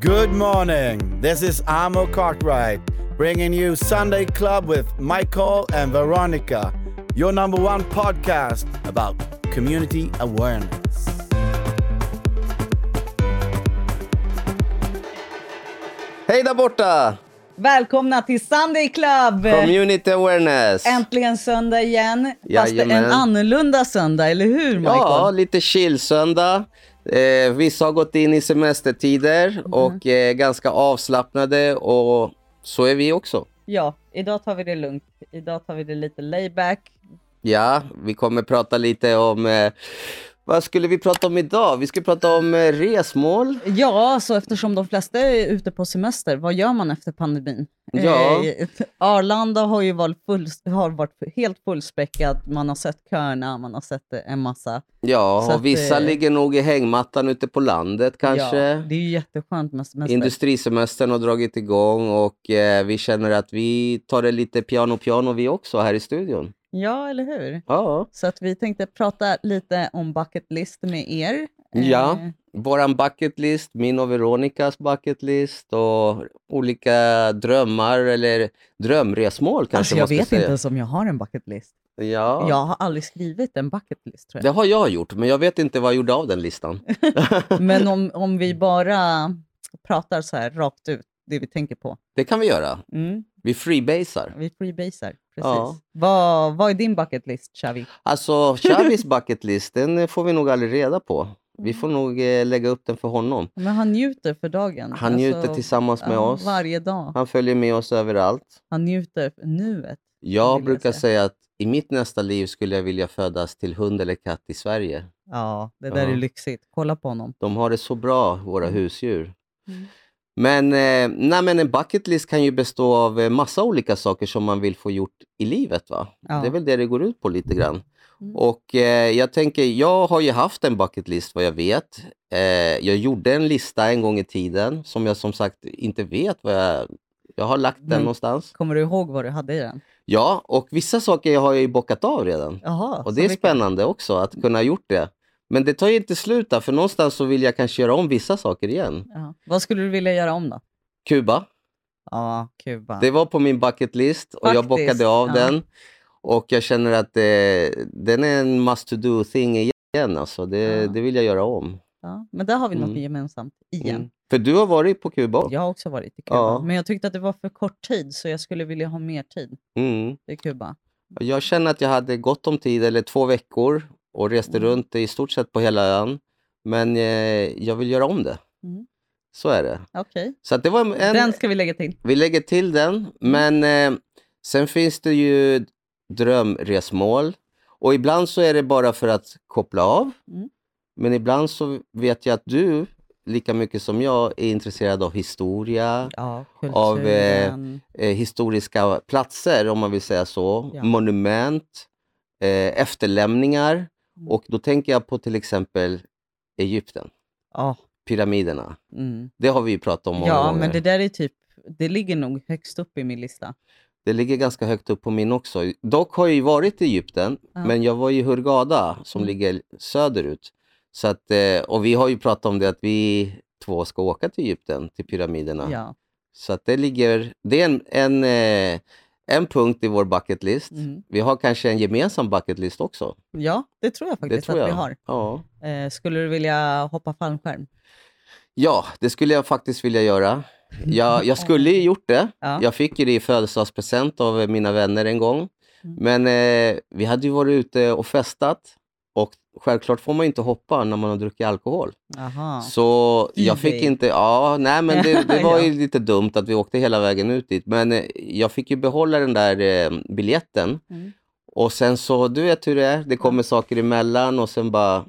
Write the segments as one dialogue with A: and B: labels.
A: Good morning. This is Amo Cartwright bringing you Sunday Club with Michael and Veronica, your number one podcast about community awareness.
B: Hej där borta!
C: Välkomna till Sunday Club!
B: Community awareness.
C: Äntligen söndag igen. Fast det är en
B: Jajamän.
C: annorlunda söndag, eller hur Michael?
B: Ja, lite chill-söndag. Eh, vissa har gått in i semestertider
C: Mhm.
B: och är ganska avslappnade och så är vi också.
C: Ja, idag tar vi det lugnt. Idag tar vi det lite layback.
B: Ja, vi kommer prata lite om... Eh, vad skulle vi prata om idag? Vi skulle prata om eh, resmål.
C: Ja, så eftersom de flesta är ute på semester, vad gör man efter pandemin?
B: Ja.
C: Eh, Arlanda har ju varit, full, har varit helt fullspäckat. Man har sett köerna, man har sett eh, en massa. Så
B: Ja,
C: att,
B: och vissa
C: eh,
B: ligger nog i hängmattan ute på landet kanske.
C: Ja, det är ju jätteskönt med semester.
B: Industrisemestern har dragit igång och eh, vi känner att vi tar det lite piano-piano vi också här i studion.
C: ja, eller hur?
B: Ja.
C: Så att vi tänkte prata lite om bucket list med er. Eh,
B: Ja, våran bucket list, min och Veronicas bucket list och olika drömmar eller drömresmål kanske
C: Alltså jag
B: man ska
C: vet
B: säga.
C: inte ens om jag har en bucket list.
B: Ja,
C: Jag har aldrig skrivit en bucket list tror
B: det
C: jag.
B: har jag gjort, men jag vet inte vad jag gjorde av den listan.
C: Men om, om vi bara pratar så här rakt ut, det vi tänker på.
B: Det kan vi göra.
C: Mm,
B: Vi freebasar.
C: vi freebasar, precis.
B: Ja.
C: Vad, vad är din bucket list, Xavi?
B: Alltså, Chavis bucket list, den eh, får vi nog aldrig reda på. Vi får nog eh, lägga upp den för honom.
C: Men han njuter för dagen. Alltså,
B: Han njuter tillsammans med
C: ja,
B: oss.
C: Varje dag.
B: Han följer med oss överallt.
C: Han njuter för nuet.
B: Jag
C: vill jag
B: brukar
C: säga.
B: säga att i mitt nästa liv skulle jag vilja födas till hund eller katt i Sverige.
C: Ja, det där
B: Ja.
C: är lyxigt. Kolla på honom.
B: De har det så bra, våra husdjur.
C: Mm.
B: Men, eh, nej, men en bucket list kan ju bestå av eh, massa olika saker som man vill få gjort i livet. va?
C: Ja.
B: Det är väl det det går ut på lite grann.
C: Mm.
B: Och eh, jag tänker, jag har ju haft en bucket list vad jag vet. Eh, jag gjorde en lista en gång i tiden som jag som sagt inte vet vad jag... Jag har lagt den
C: Men-
B: någonstans.
C: Kommer du ihåg vad du hade i den?
B: Ja, och vissa saker har jag ju bockat av redan.
C: Jaha,
B: Och
C: så Mm.
B: det är
C: vilka-
B: spännande också att kunna ha gjort det. Men det tar ju inte slut där, för någonstans så vill jag kanske göra om vissa saker igen.
C: Ja. Vad skulle du vilja göra om då?
B: Kuba.
C: Ja, Kuba.
B: Det var på min bucket list och jag
C: Faktiskt,
B: bockade av
C: ja.
B: den. Och jag känner att eh, den är en must to do thing igen. Alltså. Det,
C: Ja.
B: det vill jag göra om.
C: Ja, men där har vi något
B: Mm.
C: gemensamt igen.
B: Mm. För du har varit på Kuba. också.
C: Jag har också varit i Kuba,
B: Ja.
C: men jag tyckte att det var för kort tid så jag skulle vilja ha mer tid
B: Mm.
C: i Kuba.
B: Jag känner att jag hade gott om tid, eller två veckor, och reste
C: Mm.
B: runt i stort sett på hela ön. Men eh, jag vill göra om det.
C: Mm.
B: Så är det.
C: Okej,
B: Så att det var en,
C: den ska vi lägga till.
B: Vi lägger till
C: Mm.
B: den, men eh, sen finns det ju drömresmål. Och ibland så är det bara för att koppla av.
C: Mm.
B: Men ibland så vet jag att du, lika mycket som jag, är intresserad av historia,
C: Ja,
B: Av, eh,
C: kulturen.
B: eh, historiska platser om man vill säga så,
C: Ja.
B: monument, eh, efterlämningar.
C: Mm.
B: Och då tänker jag på till exempel Egypten,
C: Ja,
B: pyramiderna.
C: mm.
B: Det har vi ju pratat om många
C: ja
B: gånger.
C: men det där är typ, det ligger nog högst upp i min lista.
B: Det ligger ganska högt upp på min också. Dock har jag ju varit i Egypten,
C: Ja.
B: men jag var i Hurghada som
C: Mm.
B: ligger söderut. Så att, eh, och vi har ju pratat om det att vi två ska åka till Egypten, till pyramiderna.
C: Ja.
B: Så att det ligger, det är en, en, eh, en punkt i vår bucket list.
C: Mm.
B: Vi har kanske en gemensam bucket list också.
C: ja, det tror jag faktiskt
B: tror
C: att vi
B: jag.
C: har.
B: Ja.
C: Eh, skulle du vilja hoppa fallskärm?
B: ja, det skulle jag faktiskt vilja göra. Jag, jag skulle ju gjort det.
C: Ja.
B: Jag fick ju det i födelsedagspresent av eh, mina vänner en gång.
C: Mm.
B: Men eh, vi hade ju varit ute och festat och självklart får man ju inte hoppa när man har druckit alkohol.
C: Jaha.
B: Så jag fick
C: Easy.
B: inte, ja, nej men det, det var ju lite dumt att vi åkte hela vägen ut dit. Men eh, jag fick ju behålla den där eh, biljetten
C: Mm.
B: och sen så, du vet hur det är, det kommer saker emellan och sen bara,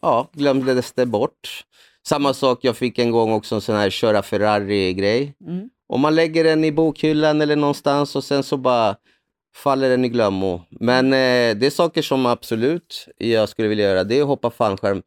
B: ja, glömdes det bort. Samma sak, jag fick en gång också en sån här köra Ferrari-grej.
C: Mm.
B: Om man lägger den i bokhyllan eller någonstans och sen så bara faller den i glömmo. Men eh, det är saker som absolut jag skulle vilja göra. Det är att hoppa fallskärm.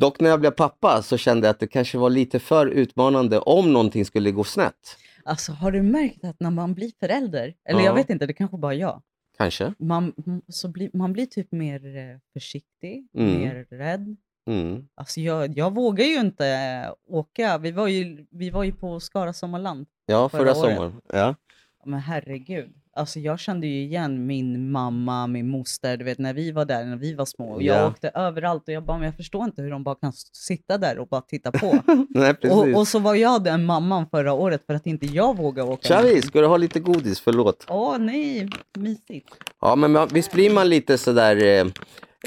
B: Dock när jag blev pappa så kände jag att det kanske var lite för utmanande om någonting skulle gå snett.
C: Alltså har du märkt att när man blir förälder, eller
B: Ja.
C: jag vet inte, det kanske bara är jag,
B: Kanske.
C: man, m- så blir, man blir typ mer eh, försiktig,
B: Mm.
C: mer rädd,
B: Mm.
C: Alltså jag, jag vågar ju inte eh, åka. Vi var ju, vi var ju på Skara Sommarland.
B: Ja, förra,
C: Förra året.
B: sommaren. Ja.
C: Men herregud. Alltså jag kände ju igen min mamma, min moster, du vet när vi var där när vi var små. Och jag
B: Ja.
C: åkte överallt och jag bara, men jag förstår inte hur de bara kan s- sitta där och bara titta på.
B: Nej, precis.
C: och, och så var jag den mamman förra året för att inte jag vågade åka.
B: Tja,
C: med.
B: vi, ska du ha lite godis? Förlåt.
C: Åh nej, mysigt.
B: Ja, men man, visst blir man lite sådär eh,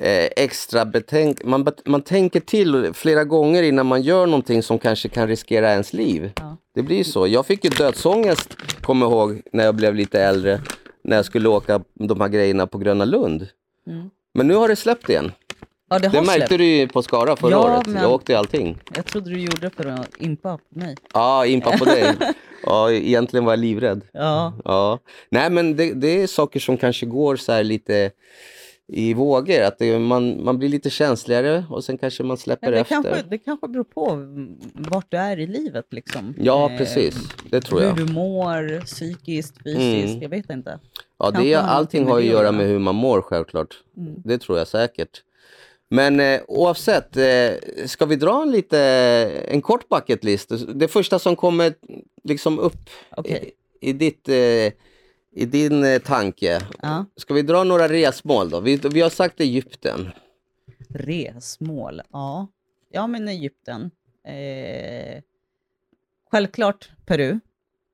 B: eh, extra betänk... Man, bet- man tänker till flera gånger innan man gör någonting som kanske kan riskera ens liv.
C: Ja.
B: Det blir ju så. Jag fick ju dödsångest, kommer jag ihåg, när jag blev lite äldre. När jag skulle åka de här grejerna på Gröna Lund.
C: Mm.
B: Men nu har det släppt igen.
C: Ja, det
B: Det
C: har
B: märkte
C: släppt.
B: du ju på Skara förra
C: Ja,
B: året.
C: men-
B: Jag åkte ju allting.
C: Jag trodde du gjorde för att impa på mig.
B: Ja, impa på dig. Ja, egentligen var jag livrädd.
C: Ja,
B: Ja. Nej, men det, det är saker som kanske går så här lite i vågor. Att det, man, man blir lite känsligare och sen kanske man släpper
C: men det,
B: efter.
C: kanske, det kanske beror på mm, vart du är i livet liksom.
B: Ja,
C: Eh,
B: precis. Det tror
C: hur
B: jag.
C: du mår, psykiskt, fysiskt,
B: Mm.
C: jag vet inte.
B: Ja, det,
C: kanske har
B: allting
C: någonting med
B: har ju
C: det
B: att
C: att
B: göra
C: göra.
B: med hur man mår självklart.
C: Mm.
B: Det tror jag säkert. Men eh, oavsett, eh, ska vi dra en lite, en kort bucket list? Det första som kommer liksom upp
C: Okej.
B: i, i, ditt, eh, i din eh, tanke.
C: Ja.
B: Ska vi dra några resmål då? Vi, vi har sagt Egypten.
C: Resmål, ja. Ja, men Egypten. Eh, självklart Peru.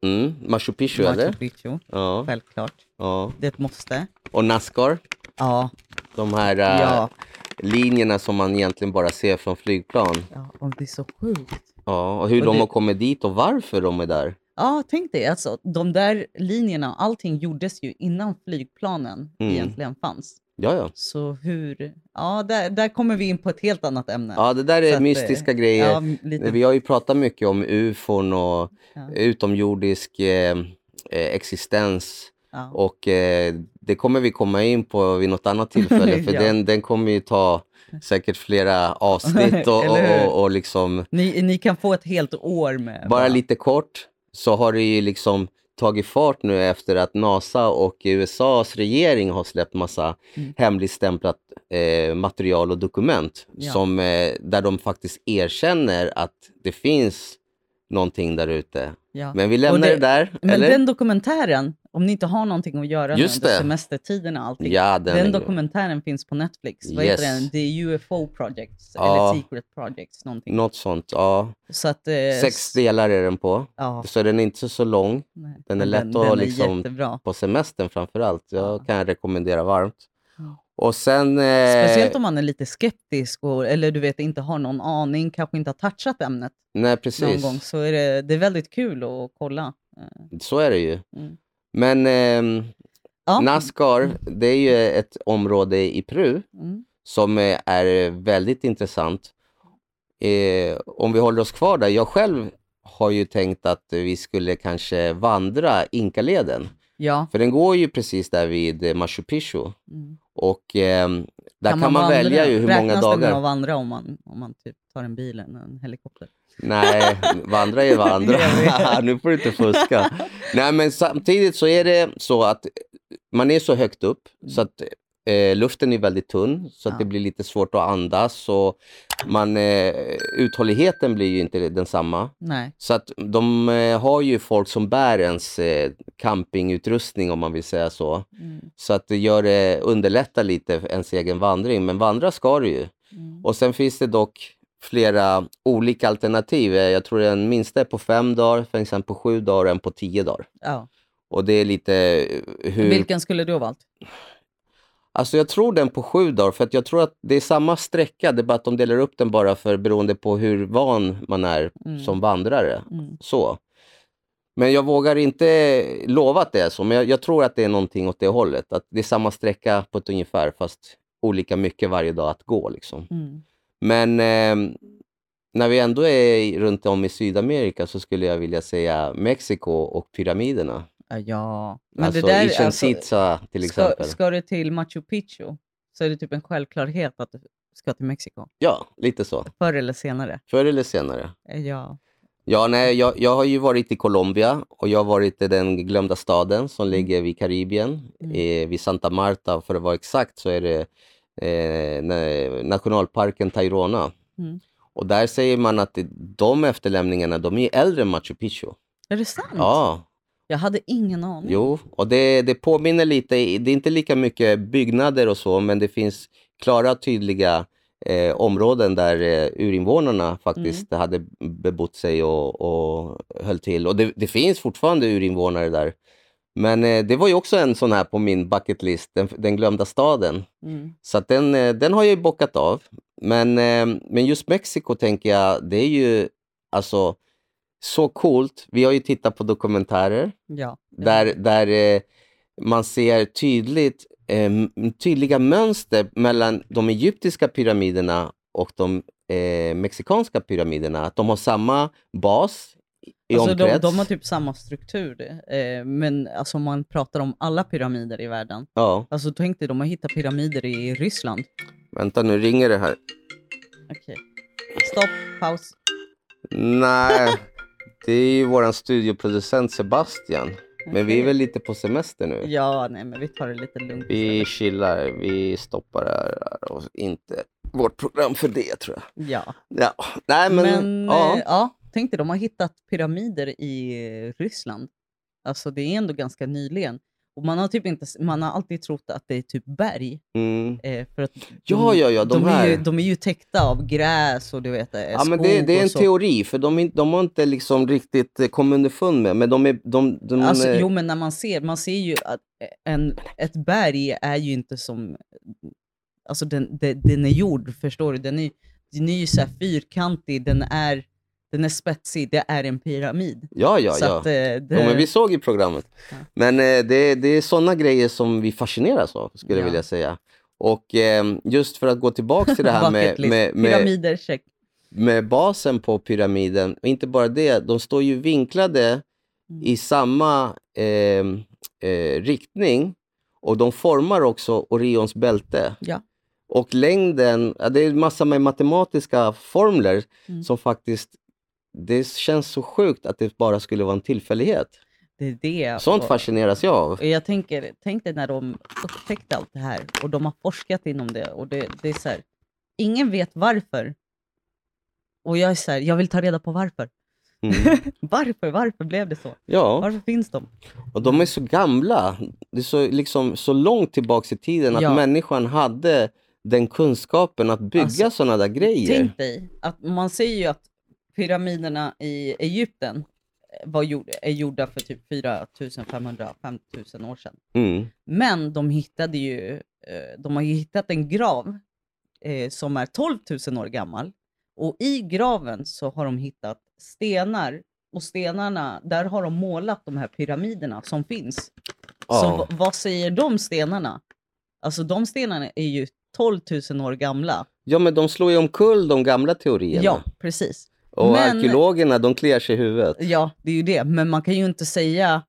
B: Mm. Machu Picchu eller?
C: Machu Picchu,
B: Ja,
C: självklart.
B: ja.
C: Det är ett måste.
B: Och Nascar,
C: Ja,
B: de här eh,
C: ja.
B: linjerna som man egentligen bara ser från flygplan.
C: ja. Och det är så sjukt.
B: Ja, och hur
C: Och
B: de
C: det-
B: har kommit dit och varför de är där.
C: Ja, tänk dig alltså. De där linjerna, allting gjordes ju innan flygplanen
B: Mm.
C: egentligen fanns.
B: Ja, ja.
C: Så hur... Ja, där, där kommer vi in på ett helt annat ämne.
B: ja det där
C: Så
B: är
C: att, eh,
B: mystiska grejer.
C: Ja, lite,
B: Vi har ju pratat mycket om ufon och
C: Ja.
B: utomjordisk eh, eh, existens.
C: ja.
B: Och eh, det kommer vi komma in på vid något annat tillfälle, för
C: Ja.
B: den, den kommer ju ta säkert flera avsnitt och,
C: Eller
B: och,
C: hur?
B: och, och liksom
C: Ni, ni kan få ett helt år med...
B: Bara lite kort, så har det ju liksom tagit fart nu efter att NASA och USAs regering har släppt massa
C: Mm.
B: hemligstämplat eh, material och dokument
C: Ja.
B: som, eh, där de faktiskt erkänner att det finns någonting där ute.
C: Ja.
B: Men vi lämnar det,
C: det-
B: där,
C: Men
B: eller?
C: den dokumentären, om ni inte har någonting att göra nu
B: Just
C: under
B: det.
C: semestertiden och allting.
B: ja, den,
C: Den
B: är-
C: dokumentären finns på Netflix. Vad heter
B: Yes.
C: den? The UFO Projects
B: Ja.
C: eller Secret Projects någonting.
B: Något sånt, ja.
C: Så att, eh,
B: Sex delar är den på.
C: Ja,
B: Så den är inte så lång.
C: nej.
B: Den är
C: Men
B: lätt att
C: den
B: liksom-
C: Är jättebra.
B: På semestern framförallt.
C: Ja.
B: Jag kan rekommendera varmt.
C: Ja.
B: Och sen... eh,
C: Speciellt om man är lite skeptisk och, eller du vet inte har någon aning, kanske inte har touchat ämnet
B: Nej, precis.
C: någon gång. Så är det, det är väldigt kul att kolla. Eh,
B: Så är det ju.
C: Mm.
B: Men ehm,
C: Ja.
B: Nascar, det är ju ett område i Peru
C: Mm.
B: som eh, är väldigt intressant. Eh, om vi håller oss kvar där, jag själv har ju tänkt att vi skulle kanske vandra Inkaleden.
C: Ja.
B: För den går ju precis där vid eh, Machu Picchu.
C: Mm.
B: Och ehm, där kan man, välja ju hur många
C: Räknas det med
B: dagar...
C: att vandra om man, om man typ tar en bil eller en helikopter?
B: Nej, vandra är vandra.
C: Jag
B: nu får du inte fuska. Nej, men samtidigt så är det så att man är så högt upp så att eh, luften är väldigt tunn så att
C: Ja.
B: det blir lite svårt att andas och man, eh, uthålligheten blir ju inte densamma.
C: Nej.
B: Så att de eh, har ju folk som bär ens eh, campingutrustning om man vill säga så.
C: Mm.
B: Så att det gör det underlättar lite ens egen vandring, men vandra ska du ju.
C: Mm.
B: Och sen finns det dock flera olika alternativ. Eh, Jag tror den minsta är på fem dagar, sen sen på sju dagar och en på tio dagar.
C: Ja.
B: Och det är lite eh, hur...
C: Vilken skulle du ha valt?
B: Alltså jag tror den på sju dagar, för att jag tror att det är samma sträcka, det är bara att de delar upp den bara för beroende på hur van man är
C: Mm.
B: som vandrare.
C: Mm.
B: Så. Men jag vågar inte lova att det är så, men jag, jag tror att det är någonting åt det hållet. Att det är samma sträcka på ett ungefär, fast olika mycket varje dag att gå. Liksom.
C: Mm.
B: Men ehm, när vi ändå är i- runt om i Sydamerika så skulle jag vilja säga Mexiko och pyramiderna.
C: Ja, Ja.
B: alltså Chichen Itza till
C: ska,
B: exempel.
C: ska du till Machu Picchu så är det typ en självklarhet att du ska till Mexiko.
B: Ja, lite så.
C: Förr eller senare. Eh,
B: Förr eller senare.
C: Ja.
B: Ja, nej, jag, jag har ju varit i Colombia och jag har varit i den glömda staden som ligger vid Karibien,
C: Mm.
B: eh, vid Santa Marta. För att vara exakt så är det eh, na- nationalparken Tairona.
C: Mm.
B: Och där säger man att det- de efterlämningarna, de är ju äldre än Machu Picchu.
C: Är det sant?
B: Ja,
C: Jag hade ingen aning.
B: jo. Och det, det påminner lite, i- det är inte lika mycket byggnader och så, men det finns klara tydliga eh, områden där eh, urinvånarna faktiskt hade bebott sig och, och höll till. Och det, det finns fortfarande urinvånare där. Men eh, det var ju också en sån här på min bucket list, den, den glömda staden.
C: Mm.
B: Så att den, eh, den har jag ju bockat av. Men, eh, men just Mexiko tänker jag, det är ju alltså så coolt. Vi har ju tittat på dokumentärer
C: Ja.
B: där, där eh, man ser tydligt, eh, m- tydliga mönster mellan de egyptiska pyramiderna och de eh, mexikanska pyramiderna. Att de har samma bas i
C: alltså de,
B: omkrets.
C: de har typ samma struktur. Eh, men alltså om man pratar om alla pyramider i världen.
B: Ja,
C: Alltså tänk dig, de har hittat pyramider i Ryssland.
B: vänta nu ringer det här.
C: Okej. Stopp, paus.
B: Nej, det är ju våran studioproducent Sebastian. Men vi är
C: Okej.
B: väl lite på semester nu.
C: Ja, nej men vi tar det lite lugnt.
B: Vi chillar, vi stoppar det här och inte vårt program för det tror jag.
C: Ja.
B: Ja. Nej men,
C: Men, eh, ja.
B: ja.
C: tänk dig, de har hittat pyramider i eh, Ryssland. Alltså det är ändå ganska nyligen. Och man har, typ inte, s- man har alltid trott att det är typ berg.
B: Mm.
C: Eh, för att de,
B: Ja, ja, ja, de, här.
C: är ju, de är ju täckta av gräs och du vet, eh,
B: ja, men det,
C: skog
B: det är
C: och
B: en
C: så.
B: teori, för de, är inte- de har inte liksom riktigt eh, kommit underfund med, men de är... De, de,
C: Alltså,
B: eh,
C: jo, men när man ser, man ser ju att eh, en, ett berg är ju inte som... Alltså den, den, den är gjord, förstår du? Den är, den är ju så här fyrkantig, den är, den är spetsig, det är en pyramid.
B: ja, ja,
C: så
B: ja.
C: att, eh, det,
B: Jo, men vi såg i programmet.
C: Ja.
B: Men eh, det, det är sådana grejer som vi fascineras av, skulle jag
C: Ja.
B: vilja säga. Och ehm, just för att gå tillbaka till det här med,
C: Bucket list.
B: med, med,
C: Pyramider, check.
B: med basen på pyramiden, och inte bara det, de står ju vinklade
C: Mm.
B: i samma ehm, eh, riktning och de formar också Orions bälte.
C: Ja.
B: Och längden, ja, det är massa med matematiska formler
C: Mm.
B: som faktiskt, det känns så sjukt att det bara skulle vara en tillfällighet.
C: Det är det.
B: Sånt
C: och-
B: fascineras jag av.
C: Och jag tänker, tänk dig när de upptäckte allt det här och de har forskat inom det och det, det är så här, ingen vet varför. Och jag är så här, jag vill ta reda på varför.
B: Mm.
C: Varför, varför blev det så?
B: Ja,
C: Varför finns de?
B: och de är så gamla. Det är så, liksom, så långt tillbaks i tiden att
C: Ja.
B: människan hade den kunskapen att bygga
C: Alltså,
B: såna sådana där grejer.
C: Tänk dig, att man säger ju att pyramiderna i Egypten eh, var gjord, är gjorda för typ 4500-5000 år sedan.
B: Mm.
C: Men de hittade ju, eh, de har ju hittat en grav eh, som är 12 000 år gammal. Och i graven så har de hittat stenar och stenarna, där har de målat de här pyramiderna som finns. Så
B: Ja.
C: v- vad säger de stenarna? Alltså de stenarna är ju 12 000 år gamla.
B: ja, men de slår ju omkull de gamla teorierna.
C: Ja, precis.
B: Och
C: men-
B: arkeologerna, de kliar sig i huvudet.
C: Ja, det är ju det. Men man kan ju inte säga,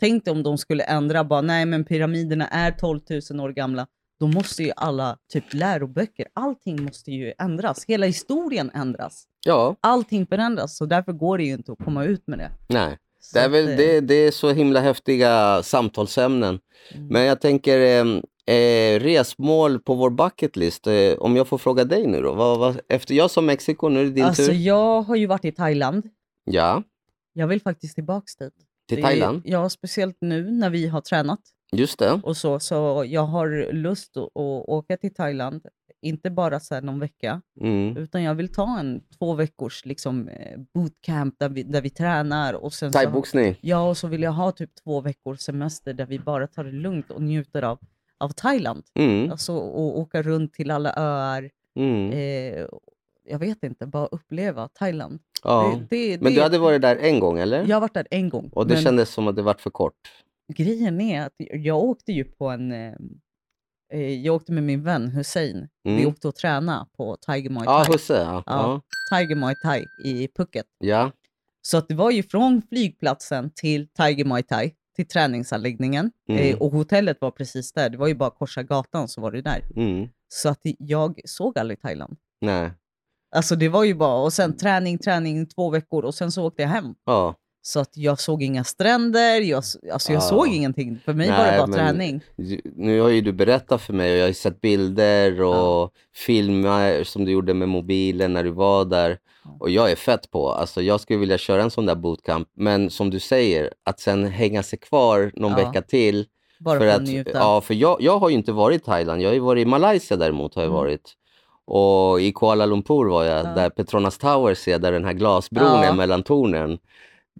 C: tänk dig om de skulle ändra bara, nej men pyramiderna är 12 000 år gamla. Då måste ju alla typ läroböcker, allting måste ju ändras. Hela historien ändras.
B: Ja,
C: Allting förändras, så därför går det ju inte att komma ut med det.
B: nej.
C: Så
B: Det är,
C: att,
B: väl,
C: eh,
B: det, det är så himla häftiga samtalsämnen.
C: Mm.
B: Men jag tänker, ehm, eh, resmål på vår bucket list. Eh, om jag får fråga dig nu då? Vad, vad, efter jag sa Mexiko, nu är det din
C: Alltså
B: tur.
C: jag har ju varit i Thailand.
B: Ja,
C: Jag vill faktiskt tillbaks dit.
B: till
C: Det är-
B: Thailand.
C: Ja, speciellt nu när vi har tränat.
B: Just det.
C: och så, så jag har lust att, att åka till Thailand, inte bara så här någon vecka,
B: Mm.
C: utan jag vill ta en två veckors liksom, eh, bootcamp där vi, där vi tränar. Och sen så,
B: Thaiboxning.
C: ja, och så vill jag ha typ två veckors semester där vi bara tar det lugnt och njuter av, av Thailand.
B: Mm.
C: Alltså och åka runt till alla öar.
B: Mm.
C: Eh, jag vet inte, bara uppleva Thailand.
B: Ja.
C: det,
B: Men
C: det-
B: du hade varit där en gång eller?
C: Jag har varit där en gång.
B: Och det
C: men-
B: kändes som att det vart för kort.
C: grejen är att jag åkte ju på en... eh, Eh, jag åkte med min vän Hussein. Vi
B: Mm.
C: åkte och tränade på Tiger Muay
B: Ja,
C: Thai,
B: Husse. Ja. Ja.
C: Ja. Tiger Muay Thai i Phuket.
B: Ja.
C: Så att det var ju från flygplatsen till Tiger Muay Thai, till träningsanläggningen.
B: Mm.
C: Eh, och hotellet var precis där. Det var ju bara att korsa gatan så var det där.
B: Mm.
C: Så att det- jag såg aldrig Thailand.
B: Nej.
C: Alltså det var ju bara, och sen träning, träning, två veckor och sen så åkte jag hem.
B: Ja.
C: Så att jag såg inga stränder, jag, s- alltså jag
B: Ja.
C: såg ingenting. För mig var
B: Ah. Nej,
C: det bara
B: men-
C: träning.
B: Ju- Nu har ju du berättat för mig och jag har ju sett bilder och
C: Ja.
B: filmer som du gjorde med mobilen när du var där.
C: Ja.
B: Och jag är fett på. Alltså jag skulle vilja köra en sån där bootcamp. Men som du säger, att sen hänga sig kvar någon
C: Ja.
B: vecka till.
C: Bara för,
B: för
C: att
B: att,
C: njuta.
B: ja, för jag, jag har ju inte varit i Thailand. Jag har ju varit i Malaysia däremot. Har jag
C: Mm.
B: varit. Och i Kuala Lumpur var jag,
C: Ja.
B: där Petronas Towers är, där den här glasbron
C: Ja.
B: är mellan tornen.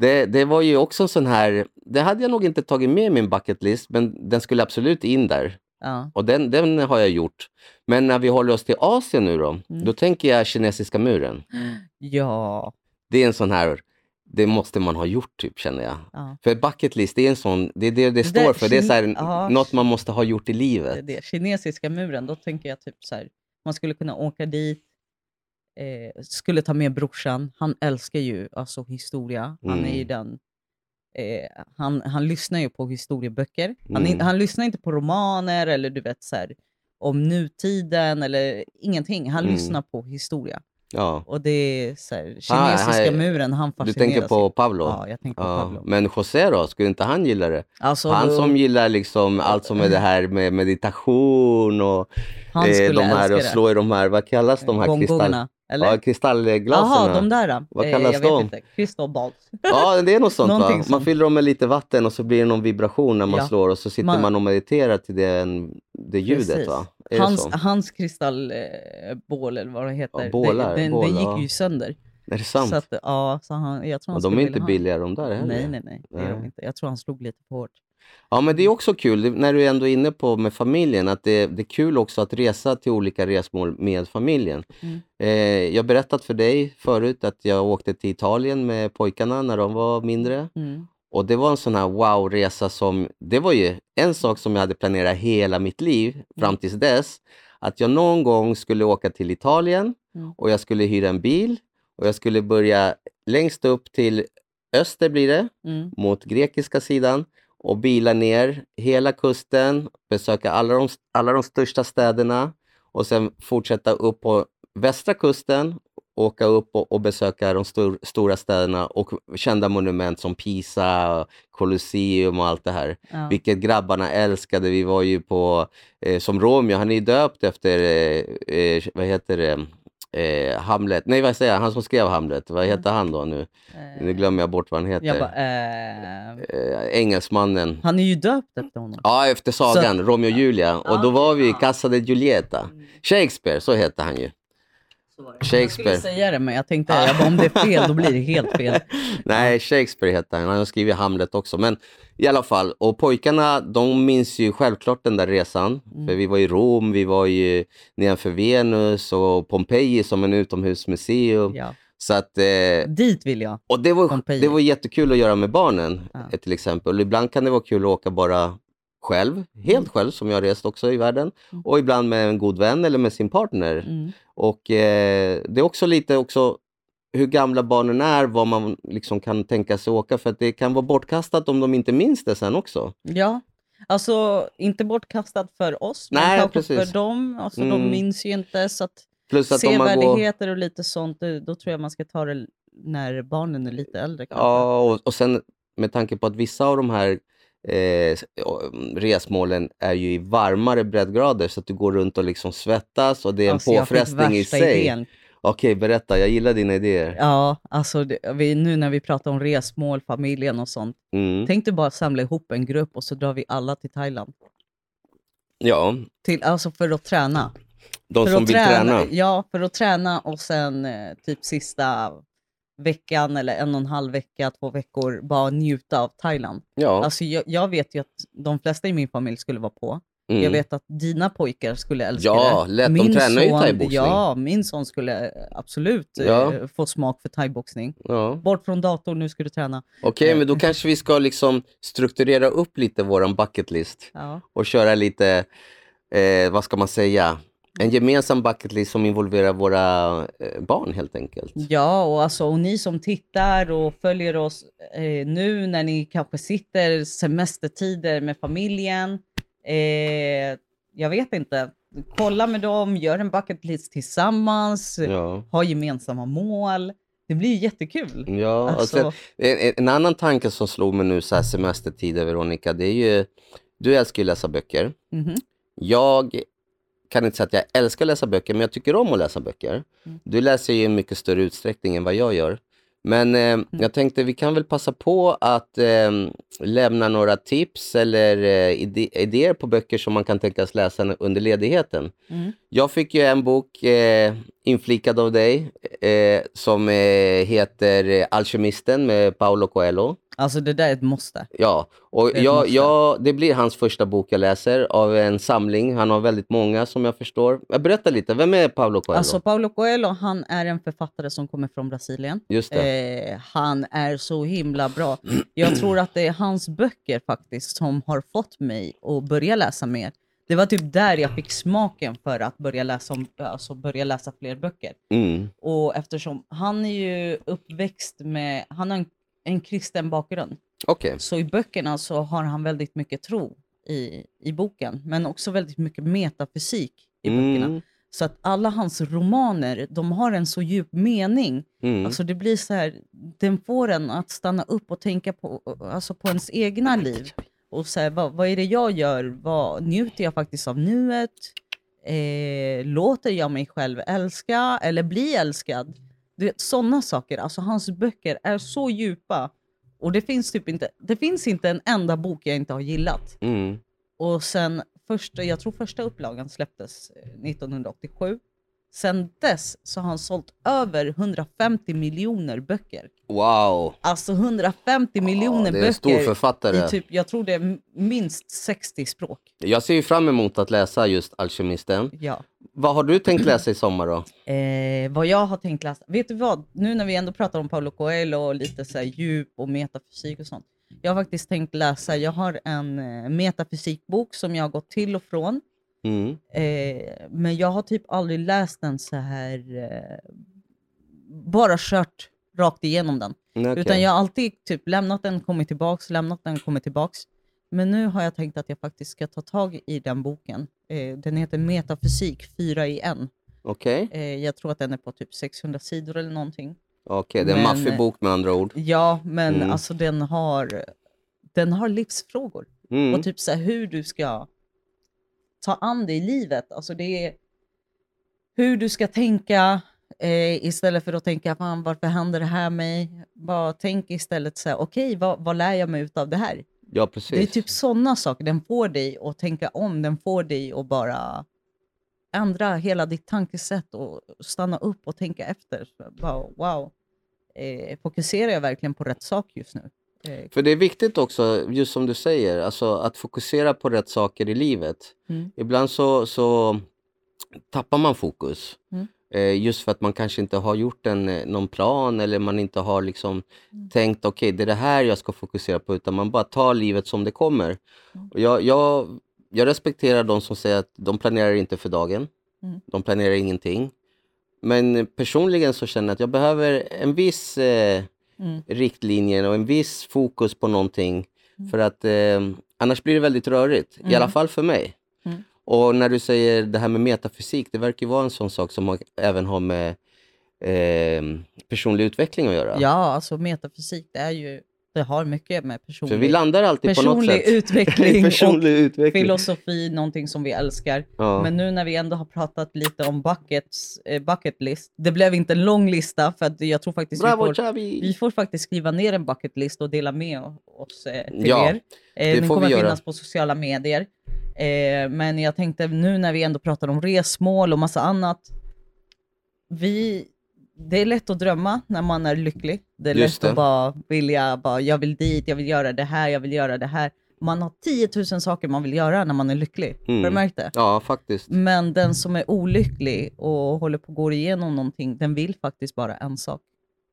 B: Det, det var ju också en sån här, det hade jag nog inte tagit med i min bucket list, men den skulle absolut in där.
C: Ja.
B: Och den, den har jag gjort. Men när vi håller oss till Asien nu då,
C: Mm.
B: då tänker jag kinesiska muren.
C: Ja.
B: Det är en sån här, det måste man ha gjort typ känner jag.
C: ja.
B: För bucket list, det är en sån, det är det det står för. Det är så här,
C: ja.
B: något man måste ha gjort i
C: Det, är
B: livet.
C: det. Kinesiska muren, då tänker jag typ så här. Man skulle kunna åka dit, eh, skulle ta med brorsan. Han älskar ju alltså, historia. Han är ju
B: Mm.
C: den... Eh, han, han lyssnar ju på historieböcker. Han,
B: Mm.
C: är- han lyssnar inte på romaner eller du vet så här, om nutiden eller ingenting. Han
B: Mm.
C: lyssnar på historia.
B: Ja.
C: Och det är så här,
B: Ah,
C: kinesiska
B: han-
C: muren, han
B: Du
C: fascineras.
B: tänker
C: ju.
B: på Pablo?
C: Ja, jag tänker på
B: Ja,
C: Pablo.
B: Men José då, skulle inte han gilla det?
C: Alltså,
B: han
C: då-
B: som gillar liksom allt som är det här med meditation och
C: han
B: eh,
C: skulle
B: de här
C: älska
B: och
C: det.
B: slå i de här, vad kallas de här kristall...
C: Gongongerna, eller?
B: ja, kristallglaserna?
C: Jaha, de där. Eh,
B: Vad kallas
C: jag
B: de?
C: Vet inte. Crystal balls.
B: Ja, det är något sånt va?
C: Någonting
B: Man
C: sånt.
B: fyller dem med lite vatten och så blir det någon vibration när man
C: Ja.
B: slår och så sitter
C: Man-
B: man och mediterar till den, det ljudet
C: Precis.
B: va? Är det
C: Hans,
B: så?
C: hans kristallbål eller vad det heter, det-
B: bålar,
C: den,
B: bål,
C: den
B: ja.
C: gick ju sönder.
B: Är det sant?
C: Så att, ja, så han, jag tror han
B: och de är
C: skulle vilja
B: inte
C: ha-
B: billiga de där heller.
C: Nej, nej, nej. Det är de
B: Nej.
C: inte. Jag tror han slog lite för hårt.
B: Ja, men det är också kul det- när du ändå är inne på med familjen, att det, det är kul också att resa till olika resmål med familjen.
C: Mm.
B: Eh, jag har berättat för dig förut att jag åkte till Italien med pojkarna när de var mindre.
C: Mm.
B: Och det var en sån här wow-resa som, det var ju en sak som jag hade planerat hela mitt liv fram tills dess. Att jag någon gång skulle åka till Italien
C: Mm.
B: och jag skulle hyra en bil och jag skulle börja längst upp till öster blir det
C: Mm.
B: mot grekiska sidan och bila ner hela kusten, besöka alla de, alla de största städerna och sen fortsätta upp på västra kusten, åka upp och, och besöka de stor, stora städerna och kända monument som Pisa, Colosseum och allt det här.
C: Ja.
B: Vilket grabbarna älskade. Vi var ju på, eh, som Romeo, han är ju döpt efter, eh, eh, vad heter det, eh, Hamlet, nej vad säger jag, han som skrev Hamlet, vad heter han då nu?
C: Eh,
B: Nu glömmer jag bort vad han heter
C: jag bara, eh,
B: eh, engelsmannen.
C: han är ju döpt efter honom.
B: Ja, efter sagan, Romeo och Julia. Och då
C: Ja,
B: var vi i
C: ja.
B: Casa de Giulietta. Shakespeare, så hette han ju.
C: Jag skulle
B: Shakespeare.
C: säga det, men jag tänkte jag bara, om det är fel, då blir det helt fel.
B: Nej, Shakespeare hette han. Han har skrivit Hamlet också. Men i alla fall, och pojkarna de minns ju självklart den där resan.
C: Mm.
B: För vi var i Rom, vi var ju nedanför Venus och Pompeji som en utomhusmuseum.
C: Ja.
B: Så att, eh,
C: Dit vill jag.
B: och det var,
C: Pompeji.
B: det var jättekul att göra med barnen
C: Ja.
B: eh, till exempel. Ibland kan det vara kul att åka bara själv, helt själv som jag har rest också i världen.
C: Mm.
B: Och ibland med en god vän eller med sin partner.
C: Mm.
B: Och eh, det är också lite också hur gamla barnen är, vad man liksom kan tänka sig åka. För att det kan vara bortkastat om de inte minns det sen också.
C: Ja, alltså inte bortkastat för oss, men
B: Nej,
C: kanske
B: precis.
C: för dem. Alltså,
B: Mm.
C: De minns ju inte, så att
B: Plus att om man går...
C: sevärdigheter och lite sånt, det- då tror jag man ska ta det när barnen är lite äldre. kanske.
B: Ja, och, och sen med tanke på att vissa av de här eh, s- och, mm, resmålen är ju i varmare breddgrader så att du går runt och liksom svettas och det är en
C: Alltså, jag fick
B: påfrestning i
C: värsta
B: sig.
C: idén.
B: Okej, berätta. Jag gillar dina idéer.
C: Ja, alltså det, vi, nu när vi pratar om resmål, familjen och sånt.
B: Mm.
C: Tänk dig bara samla ihop en grupp och så drar vi alla till Thailand.
B: Ja,
C: Till, alltså för att träna.
B: de
C: för
B: som
C: att
B: vill träna.
C: Ja, för att träna och sen eh, typ sista veckan eller en och en halv vecka, två veckor, bara njuta av Thailand.
B: Ja,
C: Alltså jag, jag vet ju att de flesta i min familj skulle vara på. Jag
B: mm.
C: vet att dina pojkar skulle älska
B: Ja,
C: det.
B: lätt. De tränar ju
C: son-
B: thaiboxning.
C: Ja, min son skulle eh, absolut eh,
B: Ja.
C: få smak för thaiboxning.
B: ja.
C: Bort från datorn, nu ska du träna.
B: Okej, men
C: Eh,
B: då kanske vi ska liksom strukturera upp lite våran bucket list
C: Ja,
B: och köra lite, eh, vad ska man säga, en gemensam bucket list som involverar våra eh, barn helt enkelt.
C: ja och, alltså, och ni som tittar och följer oss eh, nu när ni kanske sitter semestertider med familjen. Eh, jag vet inte. Kolla med dem, gör en bucket list tillsammans.
B: Ja.
C: ha gemensamma mål. Det blir ju jättekul.
B: Ja, och
C: Alltså,
B: sen, en, en- en annan tanke som slog mig nu så här semestertider, Veronica, det är ju... Du älskar ju att läsa böcker.
C: mhm.
B: Jag kan inte säga att jag älskar att läsa böcker, men jag tycker om att läsa böcker.
C: Mm.
B: Du läser ju i mycket större utsträckning än vad jag gör. Men eh, jag tänkte vi kan väl passa på att eh, lämna några tips eller eh, ide- idéer på böcker som man kan tänkas läsa under ledigheten.
C: Mm.
B: Jag fick ju en bok eh, inflikad av dig eh, som eh, heter eh, Alkemisten med Paolo Coelho.
C: Alltså det där är ett måste.
B: Ja, och
C: Det är ett
B: jag,
C: måste.
B: jag, det blir hans första bok jag läser av en samling. Han har väldigt många som jag förstår. Jag berätta lite, vem är Pablo Coelho?
C: Alltså Paulo Coelho, han är en författare som kommer från Brasilien.
B: Just det.
C: Eh, han är så himla bra. Jag tror att det är hans böcker faktiskt som har fått mig att börja läsa mer. Det var typ där jag fick smaken för att börja läsa, om, alltså börja läsa fler böcker.
B: Mm.
C: Och eftersom han är ju uppväxt med, han har en, en kristen bakgrund.
B: Okej,
C: Så i böckerna så har han väldigt mycket tro i, i boken. Men också väldigt mycket metafysik i böckerna.
B: mm.
C: Så att alla hans romaner, de har en så djup mening
B: Mm.
C: Alltså det blir så här, den får en att stanna upp och tänka på, alltså på ens egna liv. Och så här, vad, vad är det jag gör? Vad, njuter jag faktiskt av nuet? Eh, låter jag mig själv älska eller bli älskad? Du vet, sådana saker. Alltså hans böcker är så djupa. Och det finns typ inte, det finns inte en enda bok jag inte har gillat.
B: Mm.
C: Och sen första, jag tror första upplagan släpptes eh, 1987. Sen dess så har han sålt över 150 miljoner böcker.
B: Wow,
C: Alltså 150 miljoner
B: det är en stor
C: böcker
B: författare.
C: i typ, jag tror det är m- minst 60 språk.
B: Jag ser ju fram emot att läsa just Alkemisten.
C: Ja.
B: Vad har du tänkt läsa i sommar då?
C: Eh, vad jag har tänkt läsa, vet du vad? Nu när vi ändå pratar om Paulo Coelho och lite så här djup och metafysik och sånt. Jag har faktiskt tänkt läsa, jag har en eh, metafysikbok som jag har gått till och från.
B: Mm.
C: Eh, men jag har typ aldrig läst den så här, eh, bara kört rakt igenom den.
B: Nej, okej.
C: Utan jag har alltid typ lämnat den, kommit tillbaks, lämnat den, kommit tillbaks. Men nu har jag tänkt att jag faktiskt ska ta tag i den boken. Eh, den heter Metafysik 4 i 1.
B: Okej,
C: Eh, jag tror att den är på typ 600 sidor eller någonting.
B: Okej, det är en
C: Men-
B: maffig bok med andra ord.
C: Ja, men
B: Mm.
C: alltså den har, den har livsfrågor.
B: Mm.
C: Och typ så här, hur du ska ta an dig i livet. Alltså det är hur du ska tänka eh, istället för att tänka Fan, varför händer det här mig? Bara tänk istället så här, okej vad, vad lär jag mig utav det här?
B: Ja, precis.
C: Det är typ sådana saker. Den får dig att tänka om. Den får dig att bara ändra hela ditt tankesätt och stanna upp och tänka efter. Så Bara, wow, eh, fokuserar jag verkligen på rätt sak just nu? Eh,
B: För det är viktigt också, just som du säger, alltså att fokusera på rätt saker i livet.
C: Mm.
B: Ibland så, så tappar man fokus.
C: Mm.
B: Eh, just för att man kanske inte har gjort en, eh, någon plan eller man inte har liksom
C: Mm.
B: tänkt okej, det är det här jag ska fokusera på, utan man bara tar livet som det kommer.
C: Mm.
B: Och jag, jag, jag respekterar de som säger att de planerar inte för dagen.
C: Mm.
B: De planerar ingenting. Men personligen så känner jag att jag behöver en viss eh,
C: mm.
B: riktlinjen och en viss fokus på någonting.
C: Mm.
B: För att eh, annars blir det väldigt rörigt, i
C: Mm.
B: alla fall för mig.
C: Mm.
B: Och när du säger det här med metafysik, det verkar ju vara en sån sak som har, även har med eh, personlig utveckling att göra.
C: Ja, alltså metafysik, det är ju, det har mycket med
B: Så vi
C: personlig,
B: landar alltid på något
C: personlig
B: sätt.
C: utveckling
B: personlig
C: och
B: utveckling.
C: filosofi, någonting som vi älskar.
B: Ja.
C: Men nu när vi ändå har pratat lite om buckets, eh, bucket list, det blev inte en lång lista för att jag tror faktiskt vi
B: Bravo
C: får, vi
B: Xavi!
C: får faktiskt skriva ner en bucket list och dela med oss eh, till
B: Ja,
C: er. Eh,
B: det
C: den
B: får vi
C: kommer
B: göra.
C: finnas på sociala medier. Eh, men jag tänkte nu när vi ändå pratar om resmål och massa annat. Vi, det är lätt att drömma när man är lycklig. Det är
B: Just
C: lätt
B: det.
C: att bara vilja, bara, jag vill dit, jag vill göra det här, jag vill göra det här. Man har 10 000 saker man vill göra när man är lycklig. Har
B: Mm.
C: du märkt det?
B: Ja, faktiskt.
C: Men den som är olycklig och håller på att gå igenom någonting, den vill faktiskt bara en sak.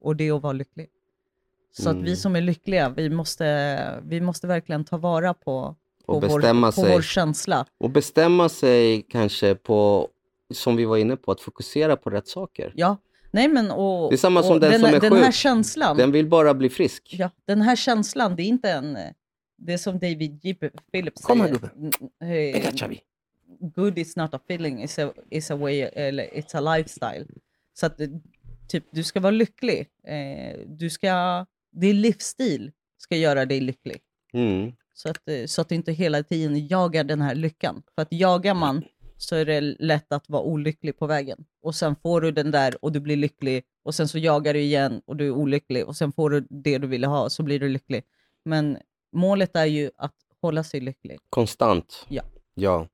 C: Och det är att vara lycklig. Så att
B: Mm.
C: vi som är lyckliga, vi måste, vi måste verkligen ta vara på, på,
B: Och
C: vår,
B: bestämma
C: på vår
B: sig.
C: känsla.
B: Och bestämma sig kanske på, som vi var inne på, att fokusera på rätt saker.
C: Ja. Nej, men, och,
B: Det är samma
C: och
B: som den
C: den,
B: som är
C: den här
B: sjuk.
C: känslan,
B: Den vill bara bli frisk.
C: ja, den här känslan, det är inte en... Det är som David J. Phillips
B: Kom här,
C: säger.
B: gubbe.
C: Mm, eh, good is not a feeling, it's a, it's a way, eller it's a lifestyle. Så att eh, Typ, du ska vara lycklig. Eh, du ska, din livsstil ska göra dig lycklig.
B: Mm.
C: Så att, eh, så att du inte hela tiden jagar den här lyckan. För att jagar man så är det lätt att vara olycklig på vägen. Och sen får du den där och du blir lycklig och sen så jagar du igen och du är olycklig och sen får du det du ville ha så blir du lycklig. Men målet är ju att hålla sig lycklig.
B: Konstant.
C: Ja.
B: ja.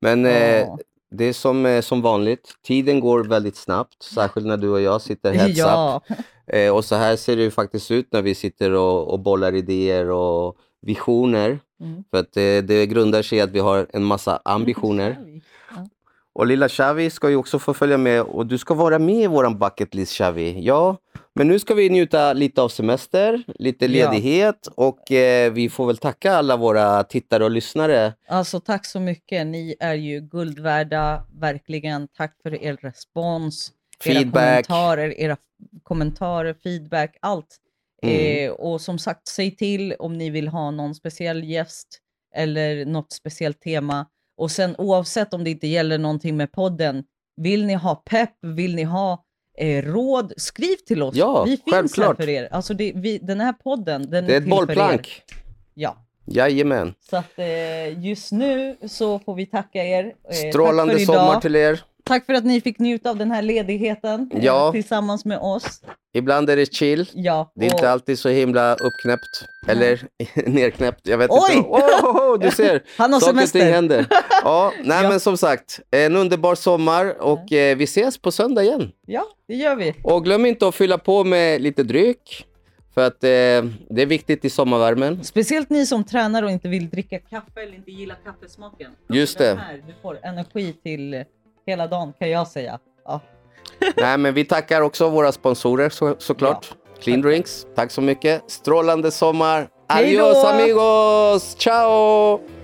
B: Men eh,
C: Ja.
B: det är som, eh, som vanligt, tiden går väldigt snabbt, särskilt när du och jag sitter heads up.
C: ja,
B: Eh, och så här ser det ju faktiskt ut när vi sitter och, och bollar idéer och visioner.
C: Mm.
B: För att det, det grundar sig i att vi har en massa
C: Mm,
B: ambitioner. Och lilla Xavi ska ju också få följa med och du ska vara med i våran bucket list Xavi. Ja, men nu ska vi njuta lite av semester, lite
C: Ja.
B: ledighet och eh, vi får väl tacka alla våra tittare och lyssnare.
C: Alltså tack så mycket. Ni är ju guld värda, verkligen. Tack för er respons.
B: Feedback.
C: era kommentarer, era kommentarer, feedback, allt.
B: Mm.
C: Eh, och som sagt, säg till om ni vill ha någon speciell gäst eller något speciellt tema. Och sen oavsett om det inte gäller någonting med podden, vill ni ha pepp, vill ni ha eh, råd, skriv till oss.
B: Ja,
C: vi finns
B: självklart.
C: här för er. Alltså det, vi, den här podden, den
B: Det är
C: till
B: ett
C: för er.
B: bollplank.
C: Ja,
B: Jajamän.
C: så att eh, just nu så får vi tacka er. Eh,
B: Strålande
C: tack för
B: sommar
C: idag.
B: till er.
C: Tack för att ni fick njuta av den här ledigheten eh,
B: Ja.
C: tillsammans med oss.
B: Ibland är det chill.
C: Ja.
B: Det är
C: och-
B: inte alltid så himla uppknäppt. Eller nerknäppt. Jag vet
C: Oj!
B: inte. Oh, oh, oh, du ser.
C: Han har
B: Saker och ting
C: semester.
B: händer. Ja, nej,
C: Ja.
B: men som sagt, en underbar sommar och eh, vi ses på söndag igen.
C: Ja, det gör vi.
B: Och glöm inte att fylla på med lite dryck. För att eh, det är viktigt i sommarvärmen.
C: Speciellt ni som tränar och inte vill dricka kaffe eller inte gillar kaffesmaken. Alltså
B: Just
C: den
B: det.
C: Här, du får energi till hela dagen kan jag säga. Ja.
B: Nej, men vi tackar också våra sponsorer så, såklart. Clean Drinks, tack så mycket. Strålande sommar.
C: Hej då!
B: Adios amigos! Ciao!